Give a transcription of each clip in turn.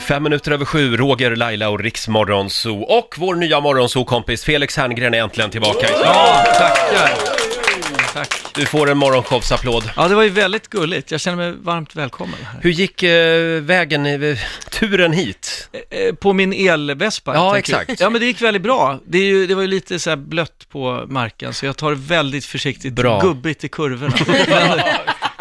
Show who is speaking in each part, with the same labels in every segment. Speaker 1: Fem minuter över sju, Roger, Laila och Riksmorgonzoo. Och vår nya morgonzoo-kompis Felix Herngren är äntligen tillbaka. i studion.
Speaker 2: Ja, tackar. Tack.
Speaker 1: Du får en morgonshowsapplåd.
Speaker 2: Ja, det var ju väldigt gulligt. Jag känner mig varmt välkommen här.
Speaker 1: Hur gick eh, vägen, eh, turen hit?
Speaker 2: Eh, På min elvespa.
Speaker 1: Ja,
Speaker 2: tänker jag.
Speaker 1: exakt.
Speaker 2: Ja, men det gick väldigt bra. Det, är ju, det var ju lite så här blött på marken, så jag tar det väldigt försiktigt,
Speaker 1: Bra.
Speaker 2: gubbigt i kurvorna. men,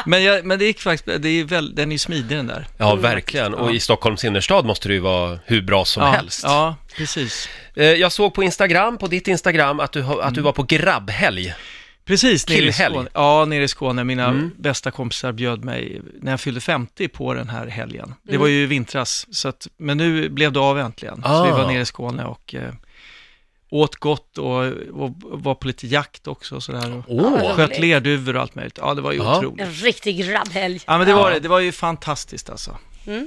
Speaker 2: men, jag, men det gick faktiskt, det är väl, den är ju smidig den där.
Speaker 1: Ja, verkligen. Och i Stockholms innerstad måste det ju vara hur bra som
Speaker 2: ja,
Speaker 1: helst.
Speaker 2: Ja, precis.
Speaker 1: Eh, Jag såg på Instagram, på ditt Instagram, att du, har- att du var på grabbhelg.
Speaker 2: Precis, nere i
Speaker 1: Killhelg. Mm.
Speaker 2: Skåne. Ja, nere i Skåne. Mina bästa kompisar bjöd mig när jag fyllde 50 på den här helgen.
Speaker 1: Mm.
Speaker 2: Det var ju i vintras, så att, men nu blev det av äntligen. Så vi
Speaker 1: Ah.
Speaker 2: var nere i Skåne och eh, åt gott och, och var på lite jakt också och sådär. Och
Speaker 1: Åh,
Speaker 3: vad
Speaker 2: Sköt
Speaker 3: roligt.
Speaker 2: lerduvor och allt möjligt. Ja, det var ju
Speaker 1: Ja.
Speaker 2: otroligt.
Speaker 3: En riktig grabbhelg. Mm.
Speaker 2: Ja, men det var det. Det var ju fantastiskt alltså.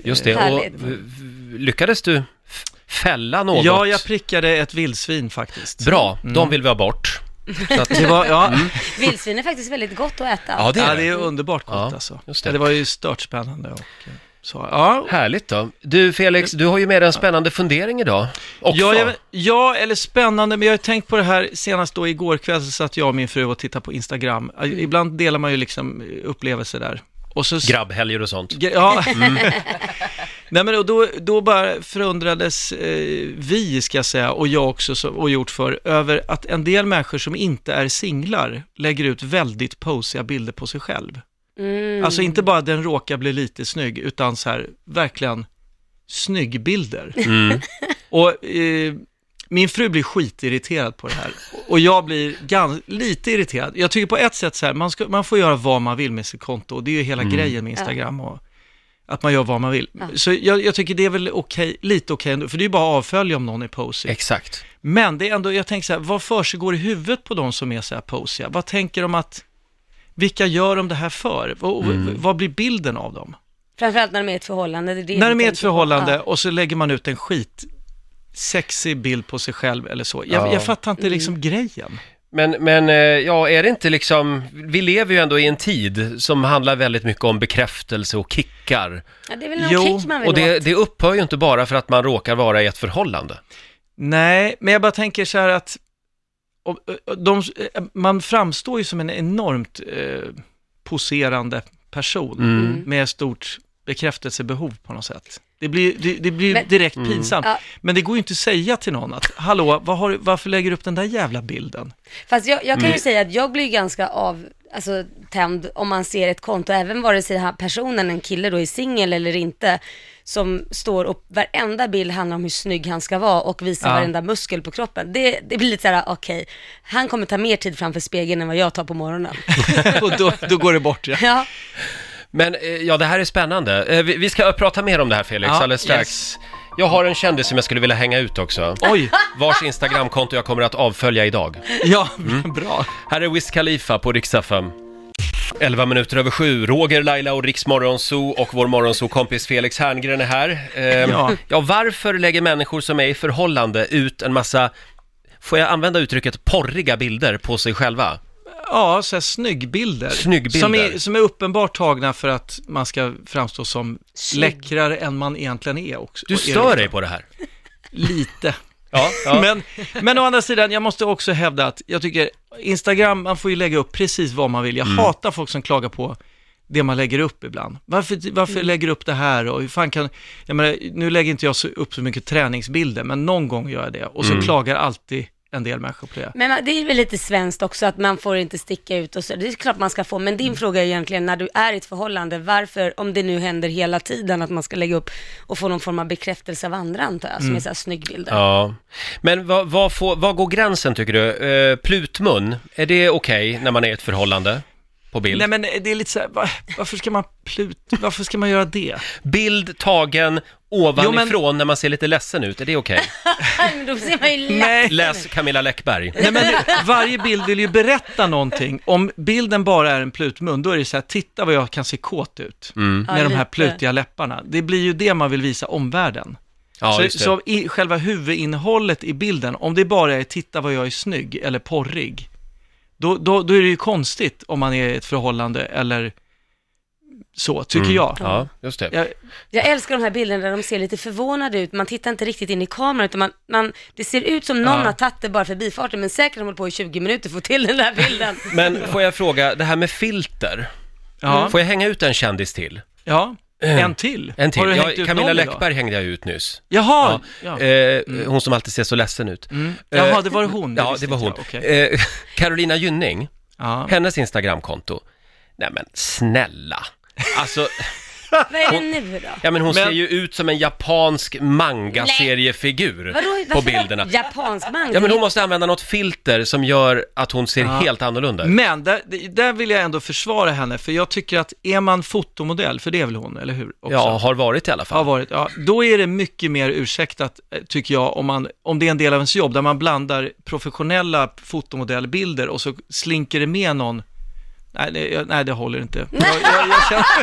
Speaker 1: just det. Och
Speaker 3: Härligt.
Speaker 1: v- v- lyckades du f- fälla något?
Speaker 2: Ja, jag Mm. prickade ett vildsvin faktiskt.
Speaker 1: Bra, de Mm. vill vi ha bort. Så att,
Speaker 2: Det var, ja,
Speaker 3: Vildsvin är faktiskt väldigt gott att äta.
Speaker 1: ja, det
Speaker 2: ja,
Speaker 1: är
Speaker 2: det är
Speaker 1: det.
Speaker 2: underbart gott
Speaker 1: Ja,
Speaker 2: alltså.
Speaker 1: just det.
Speaker 2: det. det var ju stört spännande och eh, så. Ja,
Speaker 1: Härligt då. Du Felix, du har ju med dig en spännande fundering idag. Också.
Speaker 2: Ja, jag, vet- ja, eller spännande, men jag har tänkt på det här senast då igår kväll så satt jag och min fru och tittade på Instagram. Eh, Ibland delar man ju liksom eh, upplevelser där. Och så...
Speaker 1: Grabbhelger och sånt.
Speaker 2: Ge- Ja. Nej men och då, då bara förundrades eh, vi, ska jag säga, och jag också, så, och gjort för, över att en del människor som inte är singlar lägger ut väldigt posiga bilder på sig själv.
Speaker 3: Mm.
Speaker 2: Alltså inte bara den råkar bli lite snygg, utan så här, verkligen snyggbilder.
Speaker 1: Mm.
Speaker 2: Och eh, min fru blir skitirriterad på det här. Och jag blir gans, lite irriterad. Jag tycker på ett sätt så här, man, ska, man får göra vad man vill med sitt konto. Och det är ju hela grejen med Instagram. Och, att man gör vad man vill. Så jag, jag tycker det är väl okej, lite okej ändå, för det är ju bara att avfölja om någon är posig.
Speaker 1: Exakt.
Speaker 2: Men det är ändå, jag tänker så här, vad försiggår i huvudet på de som är så här posiga? Vad tänker de att, vilka gör de det här för? Och, och, vad blir bilden av dem?
Speaker 3: Framförallt när de är i ett förhållande. Det är det
Speaker 2: När
Speaker 3: vi
Speaker 2: de är i ett
Speaker 3: tänker på.
Speaker 2: förhållande
Speaker 3: Ja.
Speaker 2: och så lägger man ut en skit sexig bild på sig själv eller så. Jag,
Speaker 1: Ja.
Speaker 2: jag fattar inte liksom
Speaker 3: Mm.
Speaker 2: grejen.
Speaker 1: Men, men eh, ja, är det inte liksom, vi lever ju ändå i en tid som handlar väldigt mycket om bekräftelse och kickar.
Speaker 3: Ja, det är väl någon
Speaker 2: Jo,
Speaker 3: kick man vill
Speaker 1: Och det,
Speaker 3: åt.
Speaker 1: det upphör ju inte bara för att man råkar vara i ett förhållande.
Speaker 2: Nej, men jag bara tänker så här att och, och, de, eh, man framstår ju som en enormt eh, poserande person
Speaker 1: Mm.
Speaker 2: med stort bekräftelsebehov på något sätt. Det blir, det, det blir
Speaker 3: Men-
Speaker 2: direkt pinsamt.
Speaker 3: Ja.
Speaker 2: Men det går ju inte att säga till någon att, hallå, vad har, du- varför lägger du upp den där jävla bilden?
Speaker 3: Fast jag, jag kan
Speaker 2: Mm.
Speaker 3: ju säga att jag blir ju ganska av, alltså, tänd om man ser ett konto, även vare sig den här personen, en kille då, är singel eller inte, som står och varenda bild handlar om hur snygg han ska vara och visar
Speaker 2: Ja.
Speaker 3: varenda muskel på kroppen. Det, det blir lite så här, okej, han kommer ta mer tid framför spegeln än vad jag tar på morgonen.
Speaker 2: och då, då går det bort, ja.
Speaker 3: ja.
Speaker 1: Men eh, ja, det här är spännande. Eh, Vi, vi ska prata mer om det här Felix
Speaker 2: Ja,
Speaker 1: alldeles strax. Jag har en kändis som jag skulle vilja hänga ut också.
Speaker 2: Oj,
Speaker 1: Vars Instagramkonto jag kommer att avfölja idag.
Speaker 2: ja, bra.
Speaker 1: Här är Wiz Khalifa på Rix FM. 11 minuter över sju, Roger, Laila och Rix Morgonzoo och vår morgonzoo-kompis Felix Herngren är här. Ehm, ja.
Speaker 2: Ja.
Speaker 1: varför lägger människor som är i förhållande ut en massa, får jag använda uttrycket porriga bilder på sig själva?
Speaker 2: Ja, så här snyggbilder.
Speaker 1: Snyggbilder.
Speaker 2: Som är, som är uppenbart tagna för att man ska framstå som
Speaker 3: Snygg.
Speaker 2: läckrare än man egentligen är också.
Speaker 1: Du
Speaker 2: Och är
Speaker 1: stör
Speaker 2: det-
Speaker 1: dig på det här?
Speaker 2: Lite.
Speaker 1: Ja,
Speaker 2: Men, men å andra sidan, jag måste också hävda att jag tycker Instagram, man får ju lägga upp precis vad man vill. Jag hatar folk som klagar på det man lägger upp ibland. Varför, varför lägger du upp det här och hur fan kan... Jag menar, nu lägger inte jag så, upp så mycket träningsbilder, men någon gång gör jag det. Och så klagar alltid en del människor på det.
Speaker 3: Men man- det är väl lite svenskt också att man får inte sticka ut och så. Det är klart man ska få, men
Speaker 1: Mm.
Speaker 3: din fråga är egentligen när du är i ett förhållande, varför, om det nu händer hela tiden, att man ska lägga upp och få någon form av bekräftelse av andra antar jag, som är så här snyggbilder.
Speaker 1: Mm. Ja, men vad, vad, får, vad går gränsen tycker du? Eh, plutmun, är det okej när man är i ett förhållande? På bild?
Speaker 2: Nej men det är lite så här, va- varför ska man plut, varför ska man göra det?
Speaker 1: Bild tagen ovanifrån
Speaker 2: Jo,
Speaker 1: när man ser lite ledsen ut, är det okej?
Speaker 3: Nej, men då ser man ju lätt.
Speaker 2: Nej.
Speaker 1: Läs Camilla Läckberg.
Speaker 2: Nej men varje bild vill ju berätta någonting. Om bilden bara är en plutmun, då är det så här, titta vad jag kan se kåt ut med
Speaker 3: Ja,
Speaker 2: de här
Speaker 3: lite.
Speaker 2: plutiga läpparna. Det blir ju det man vill visa omvärlden.
Speaker 1: Ja,
Speaker 2: så
Speaker 1: just det.
Speaker 2: så i, själva huvudinnehållet i bilden, om det bara är titta vad jag är snygg eller porrig, då, då, då är det ju konstigt om man är i ett förhållande eller så, tycker jag.
Speaker 1: Mm. Ja, just det.
Speaker 2: jag.
Speaker 3: Jag älskar de här bilderna där de ser lite förvånade ut. Man tittar inte riktigt in i kameran utan man, man, det ser ut som någon
Speaker 2: Ja.
Speaker 3: har tagit det bara förbifarten men säkert har de hållit på i 20 minuter för att få till den där bilden.
Speaker 1: Men får jag fråga, det här med filter,
Speaker 2: Ja,
Speaker 1: får jag hänga ut en kändis till?
Speaker 2: ja. en till.
Speaker 1: Ehm. En till?
Speaker 2: Har du
Speaker 1: Ja,
Speaker 2: hängt ut
Speaker 1: Camilla
Speaker 2: någon idag?
Speaker 1: Läckberg hängde jag ut nyss.
Speaker 2: Jaha, ja. Mm.
Speaker 1: Ja. Eh, Hon som alltid ser så ledsen ut. Eh,
Speaker 2: Jaha, det var hon.
Speaker 1: Ja,
Speaker 2: visste
Speaker 1: det var
Speaker 2: inte
Speaker 1: hon.
Speaker 2: jag. Okej.
Speaker 1: Eh, Carolina Gynning,
Speaker 2: Ja.
Speaker 1: hennes Instagramkonto. Nej men snälla. Alltså,
Speaker 3: Vad är det nu då?
Speaker 1: ja men hon
Speaker 2: Men-
Speaker 1: ser ju ut som en japansk manga-seriefigur
Speaker 3: Vadå,
Speaker 1: på
Speaker 3: varför
Speaker 1: bilderna.
Speaker 3: Japansk man?
Speaker 1: Ja men hon måste använda något filter som gör att hon ser helt annorlunda ut.
Speaker 2: Men där, där vill jag ändå försvara henne, för jag tycker att är man fotomodell, för det är väl hon, eller hur? Också?
Speaker 1: Ja, har varit i alla fall.
Speaker 2: har varit, ja, då är det mycket mer ursäktat, eh, tycker jag, om, man, om det är en del av ens jobb, där man blandar professionella fotomodellbilder och så slinker det med någon. Nej, det, jag- nej, det håller inte. Jag, jag, jag känner...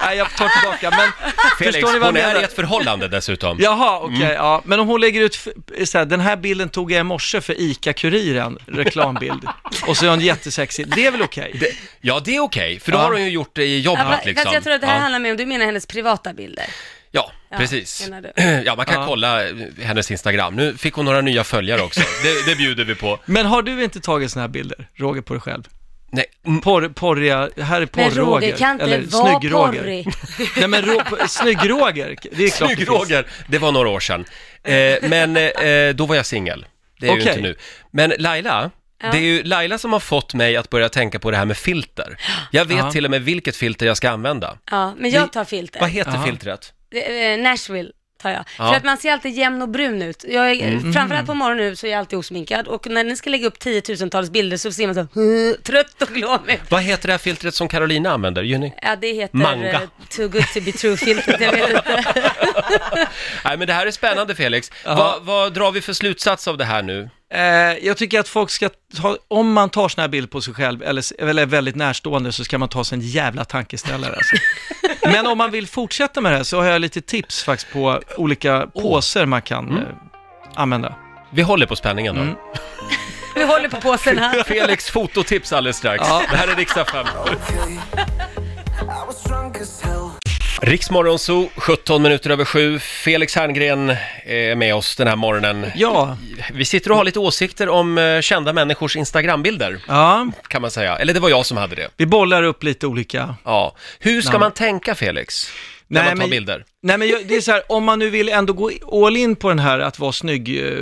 Speaker 2: nej, jag tar tillbaka, men
Speaker 1: Felix,
Speaker 2: förstår ni vad jag
Speaker 1: hon är
Speaker 2: menar?
Speaker 1: i ett förhållande dessutom.
Speaker 2: Jaha, okej, ja. Men om hon lägger ut, f- så här, den här bilden tog jag i morse för ICA-Kuriren, reklambild, och så är hon jättesexig, det är väl okej?
Speaker 1: Ja, det är okej, för då
Speaker 2: Ja.
Speaker 1: har hon ju gjort det i
Speaker 3: Ja, va-
Speaker 1: jobbet liksom.
Speaker 3: Fast jag tror att det här
Speaker 1: ja.
Speaker 3: handlar mer om, du menar hennes privata bilder?
Speaker 1: Ja,
Speaker 3: Ja,
Speaker 1: precis.
Speaker 3: menar
Speaker 1: Ja, man kan
Speaker 2: Ja.
Speaker 1: kolla eh, hennes Instagram. Nu fick hon några nya följare också. Det, det bjuder vi på.
Speaker 2: Men har du inte tagit såna här bilder, Roger, på dig själv?
Speaker 1: Nej, mm,
Speaker 2: Porr, porriga, här är
Speaker 3: Men
Speaker 2: porr-Roger.
Speaker 3: Roger kan inte
Speaker 2: eller
Speaker 3: vara
Speaker 2: snygg-Roger.
Speaker 3: porrig.
Speaker 2: Nej men ro- snygg-Roger, det är klart det
Speaker 1: snygg
Speaker 2: finns.
Speaker 1: Roger! Det var några år sedan. Eh, men eh, eh, då var jag singel. Det är ju
Speaker 2: Okej.
Speaker 1: inte nu. Men Laila, det är ju Laila som har fått mig att börja tänka på det här med filter. Jag vet
Speaker 2: Ja.
Speaker 1: till och med vilket filter jag ska använda.
Speaker 3: Ja, men jag tar filter.
Speaker 1: Vad heter
Speaker 2: Ja.
Speaker 1: filtret?
Speaker 3: Eh, Nashville tar jag.
Speaker 1: Ja. Mm.
Speaker 3: För att man ser alltid jämn och brun ut. Jag är, eh, Framförallt på morgonen nu så är jag alltid osminkad och när ni ska lägga upp tiotusentals bilder så ser man så här, "Huh", trött och glåmig.
Speaker 1: Vad heter det här filtret som Carolina använder? Gynning?
Speaker 3: Ja, det heter
Speaker 1: Manga.
Speaker 3: eh, Too good to be true-filtret, jag vet inte.
Speaker 1: Nej, men det här är spännande Felix. Vad, vad drar vi för slutsats av det här nu?
Speaker 2: Eh, jag tycker att folk ska ta, om man tar såna här bilder på sig själv eller, eller är väldigt närstående så ska man ta sig en jävla tankeställare alltså. Men om man vill fortsätta med det här så har jag lite tips faktiskt på olika påser man kan eh, använda.
Speaker 1: Vi håller på spänningen då.
Speaker 2: Mm.
Speaker 3: Vi håller på påsen här.
Speaker 1: Felix fototips alldeles strax.
Speaker 2: Ja.
Speaker 1: Det här är Riksdag 5.
Speaker 4: I was drunk as hell.
Speaker 1: Riksmorgon Zoo, 17 minuter över sju. Felix Herngren är med oss den här morgonen.
Speaker 2: Ja,
Speaker 1: Vi sitter och har lite åsikter om eh, kända människors Instagrambilder,
Speaker 2: ja,
Speaker 1: kan man säga. Eller det var jag som hade det.
Speaker 2: vi bollar upp lite olika.
Speaker 1: Ja. Hur ska
Speaker 2: Nej.
Speaker 1: man tänka Felix, när
Speaker 2: Nej,
Speaker 1: man tar
Speaker 2: men-
Speaker 1: bilder?
Speaker 2: Nej men jag, det är så här, om man nu vill ändå gå i- all in på den här att vara snygg, eh,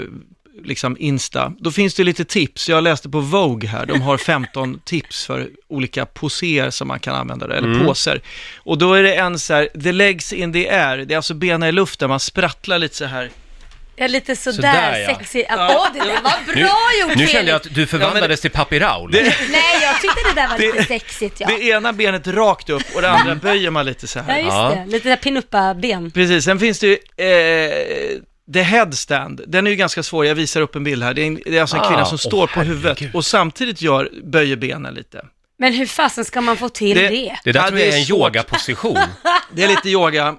Speaker 2: liksom Insta, då finns det lite tips. Jag läste på Vogue här, de har 15 tips för olika poser som man kan använda, eller poser. Och då är det en så här, the legs in the air, det är alltså benen i luften, man sprattlar lite så här.
Speaker 3: Jag är lite sådär,
Speaker 1: Sådär, ja.
Speaker 3: sexig. Att, Åh, det där var bra gjort
Speaker 1: Nu
Speaker 3: Felix.
Speaker 1: kände jag att du förvandlades till Papi Raul.
Speaker 3: Nej, jag tyckte det där var lite
Speaker 2: Det-
Speaker 3: sexigt, ja.
Speaker 2: Det ena benet rakt upp och det andra böjer man lite så
Speaker 3: Ja,
Speaker 2: här.
Speaker 3: just
Speaker 1: Ja.
Speaker 3: det. Lite där pinuppa-ben.
Speaker 2: Precis, sen finns det ju, eh, The headstand, den är ju ganska svår, jag visar upp en bild här. Det är, en, det är alltså en
Speaker 1: Ah,
Speaker 2: kvinna som
Speaker 1: åh,
Speaker 2: står på huvudet
Speaker 1: herregud.
Speaker 2: och samtidigt gör, böjer benen lite.
Speaker 3: Men hur fasen ska man få till det?
Speaker 2: Det-
Speaker 1: Det där
Speaker 2: Ja,
Speaker 1: tror
Speaker 2: det
Speaker 1: jag
Speaker 2: är
Speaker 1: är en
Speaker 2: svårt.
Speaker 1: yogaposition.
Speaker 2: Det är lite yoga.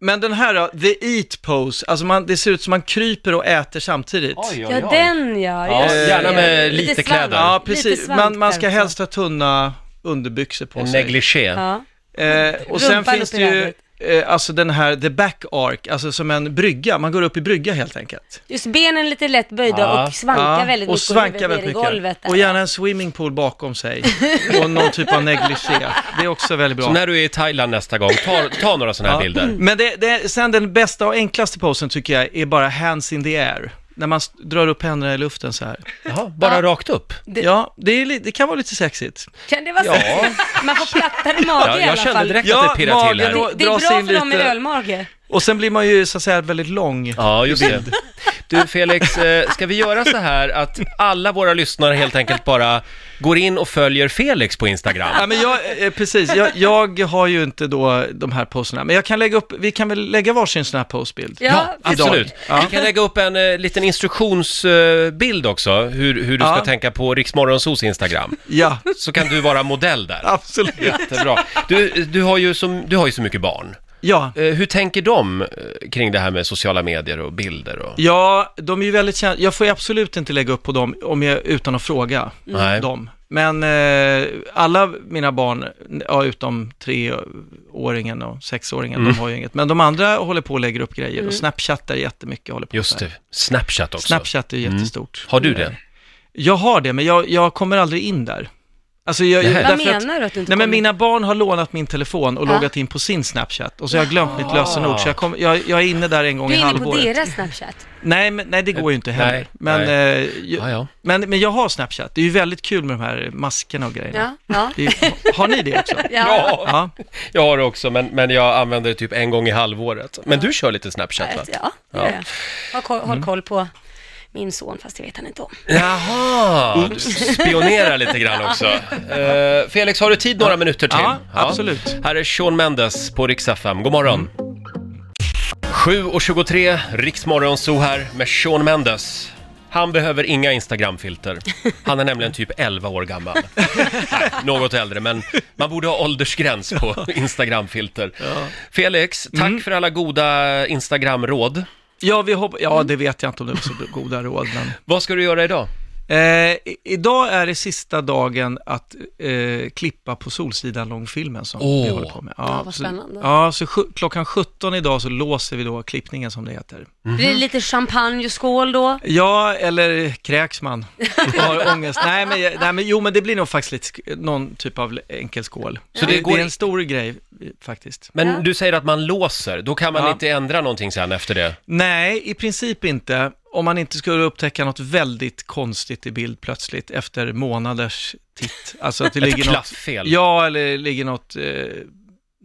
Speaker 2: Men den här då, the eat pose, alltså man, det ser ut som man kryper och äter samtidigt.
Speaker 3: Ja, den ja.
Speaker 1: Ja,
Speaker 3: just det.
Speaker 1: gärna med lite
Speaker 3: svamp.
Speaker 1: kläder.
Speaker 2: Ja,
Speaker 3: Lite
Speaker 2: precis.
Speaker 3: svamp
Speaker 2: Man, man ska
Speaker 3: kanske.
Speaker 2: helst ha tunna underbyxor på
Speaker 1: En
Speaker 2: sig.
Speaker 1: negligé.
Speaker 3: Ja.
Speaker 2: Eh, och sen
Speaker 3: Rumpan
Speaker 2: finns
Speaker 3: upp
Speaker 2: det
Speaker 3: i
Speaker 2: ju
Speaker 3: vädret.
Speaker 2: eh, alltså den här the back arc, alltså som en brygga, man går upp i brygga helt enkelt.
Speaker 3: Just benen lite lätt böjda
Speaker 1: Ja.
Speaker 3: och svankar
Speaker 2: Ja,
Speaker 3: väldigt mycket.
Speaker 2: och svanka
Speaker 3: huvudet
Speaker 2: väldigt
Speaker 3: ner
Speaker 2: mycket.
Speaker 3: i golvet. där.
Speaker 2: Och gärna en swimmingpool bakom sig och någon typ av negligé. Det är också väldigt bra.
Speaker 1: Så när du är i Thailand nästa gång, ta, ta några sådana här
Speaker 2: Ja.
Speaker 1: bilder.
Speaker 2: Men det, det, sen den bästa och enklaste posen tycker jag är bara hands in the air. När man st- drar upp händerna i luften så här.
Speaker 1: Jaha, bara rakt upp.
Speaker 3: Det-
Speaker 2: Ja, det, är, li- det kan vara lite sexigt.
Speaker 3: Kan det vara
Speaker 1: Ja.
Speaker 3: sexigt? Man får plattare mage
Speaker 1: Ja,
Speaker 3: i alla
Speaker 1: jag kände
Speaker 3: fall.
Speaker 1: direkt
Speaker 2: Ja,
Speaker 1: att det pirrade till
Speaker 2: magen
Speaker 1: här.
Speaker 2: och-
Speaker 3: Det, det är
Speaker 2: Dra sig
Speaker 3: bra för
Speaker 2: in
Speaker 3: dem med
Speaker 2: lite.
Speaker 3: ölmage.
Speaker 2: Och sen blir man ju så att säga väldigt lång.
Speaker 1: Ja, just det. Du Felix, eh, ska vi göra så här att alla våra lyssnare helt enkelt bara går in och följer Felix på
Speaker 2: Ja,
Speaker 1: Instagram?
Speaker 2: men jag, eh, precis, jag, jag har ju inte då de här poserna, men jag kan lägga upp, vi kan väl lägga varsin sån här postbild?
Speaker 3: Ja,
Speaker 1: Absolut.
Speaker 2: Ja.
Speaker 1: Vi kan lägga upp en eh, liten instruktionsbild också, hur, hur du ska
Speaker 2: Ja.
Speaker 1: tänka på Riksmorgonsos Instagram.
Speaker 2: Ja,
Speaker 1: Så kan du vara modell där.
Speaker 2: absolut.
Speaker 1: Jättebra. Du, du, har ju som, du har ju så mycket barn.
Speaker 2: Ja.
Speaker 1: Eh, Hur tänker de eh, kring det här med sociala medier och bilder? Och...
Speaker 2: Ja, de är ju väldigt kända. Jag får ju absolut inte lägga upp på dem om jag, utan att fråga
Speaker 1: Mm. Nej.
Speaker 2: dem. Men eh, alla mina barn, ja, utom treåringen och sexåringen,
Speaker 1: Mm.
Speaker 2: de har ju inget. Men de andra håller på och lägger upp grejer
Speaker 3: Mm.
Speaker 2: och snapchattar jättemycket. Håller på
Speaker 1: Just
Speaker 2: så här.
Speaker 1: det, Snapchat också.
Speaker 2: Snapchat är ju jättestort.
Speaker 1: Har du
Speaker 3: Mm.
Speaker 1: det?
Speaker 2: Jag har det, men jag, jag kommer aldrig in där. Alltså jag,
Speaker 1: Nähä.
Speaker 2: därför
Speaker 3: Vad menar du att du inte
Speaker 2: Nej, men
Speaker 3: kommer-
Speaker 2: mina barn har lånat min telefon och
Speaker 3: Ja.
Speaker 2: loggat in på sin Snapchat och så har jag glömt
Speaker 1: Ah.
Speaker 2: mitt lösenord så jag, kom, jag, jag är inne där en gång
Speaker 3: Du
Speaker 2: i
Speaker 3: är inne på
Speaker 2: halvåret.
Speaker 3: deras Snapchat.
Speaker 2: Nej, men, nej, det går ju inte heller.
Speaker 1: Nej,
Speaker 2: men,
Speaker 1: nej.
Speaker 2: eh, jag,
Speaker 1: Ja, ja.
Speaker 2: Men, men jag har Snapchat, det är ju väldigt kul med de här maskerna och grejerna.
Speaker 3: Ja, ja.
Speaker 2: Det är, ju- har ni det också?
Speaker 3: Ja,
Speaker 1: Ja,
Speaker 2: Ja.
Speaker 1: jag har det också, men, men jag använder det typ en gång i halvåret. Men du kör lite Snapchat va?
Speaker 3: ja, ja. det gör jag. Har koll, håll koll på min son, fast det vet han inte om.
Speaker 1: Jaha,
Speaker 2: Mm.
Speaker 1: du spionerar lite grann också. Eh, Felix, har du tid några minuter till?
Speaker 2: Ja, absolut.
Speaker 1: Här är Sean Mendes på Rix FM. God morgon. 7.23, Riksmorgon Zoo här med Sean Mendes. Han behöver inga Instagramfilter. Han är nämligen typ 11 år gammal. Nej, något äldre, men man borde ha åldersgräns på Instagramfilter. Felix, tack
Speaker 2: Mm.
Speaker 1: för alla goda Instagramråd.
Speaker 2: Ja, vi hopp- ja, det vet jag inte om det var så goda råd, men...
Speaker 1: Vad ska du göra idag?
Speaker 2: Eh, i- idag är det sista dagen att eh, klippa på Solsidan-långfilmen som vi
Speaker 1: Åh.
Speaker 2: håller på med.
Speaker 3: Ja, vad
Speaker 2: så-
Speaker 3: spännande.
Speaker 2: Ja, så sju- klockan 17 idag så låser vi då klippningen som det heter.
Speaker 3: Blir det lite champagne och skål då?
Speaker 2: Ja, eller kräks man och har ångest. Nej men, jag- nej, men jo, men det blir nog faktiskt lite, sk- någon typ av enkel skål.
Speaker 1: Så
Speaker 2: Så
Speaker 1: det
Speaker 2: det,
Speaker 1: går
Speaker 2: det är
Speaker 1: i-
Speaker 2: en stor grej eh, faktiskt.
Speaker 1: Men du säger att man låser, då kan man
Speaker 2: Ja.
Speaker 1: inte ändra någonting sen efter det.
Speaker 2: Nej, i princip inte. Om man inte skulle upptäcka något väldigt konstigt i bild plötsligt efter månaders titt. Alltså att det
Speaker 1: Ett
Speaker 2: ligger något...
Speaker 1: klaffel.
Speaker 2: Ja, eller det ligger något... Eh,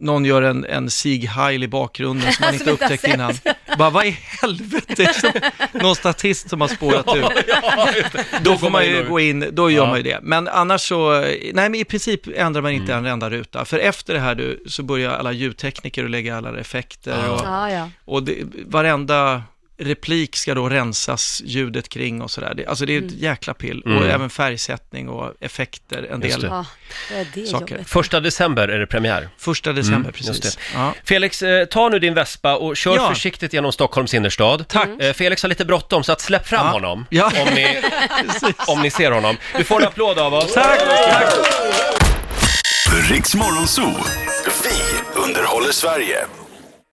Speaker 2: någon gör en, en Sieg Heil i bakgrunden som man inte
Speaker 3: Som inte har
Speaker 2: upptäckt
Speaker 3: sett.
Speaker 2: innan. Bara, vad i helvete? är det som- Någon statist som har spårat ur.
Speaker 1: Ja, just det.
Speaker 2: Då får man ju
Speaker 1: och-
Speaker 2: gå in, då gör
Speaker 1: Ja.
Speaker 2: man ju det. Men annars så, nej men i princip ändrar man inte en enda ruta. För efter det här du, så börjar alla ljudtekniker att lägga alla effekter och,
Speaker 3: Ja, ja.
Speaker 2: och det, varenda replik ska då rensas ljudet kring och sådär. Det- Alltså det är ett jäkla pill. Och även färgsättning och effekter, en
Speaker 1: Just
Speaker 2: del.
Speaker 1: det.
Speaker 3: ja det är det
Speaker 2: Saker.
Speaker 3: jobbet.
Speaker 1: Första december är det premiär.
Speaker 2: Första december,
Speaker 1: Mm, just
Speaker 2: precis.
Speaker 1: det.
Speaker 2: Ja.
Speaker 1: Felix, eh, ta nu din vespa och kör
Speaker 2: Ja.
Speaker 1: försiktigt genom Stockholms innerstad.
Speaker 2: Tack.
Speaker 1: Eh, Felix har lite bråttom, så att släpp fram
Speaker 2: Ja.
Speaker 1: honom
Speaker 2: Ja.
Speaker 1: om, ni, om ni ser honom. Du får en applåd av oss.
Speaker 2: Tack, tack.
Speaker 5: Riks Morgonzoo. Vi underhåller Sverige.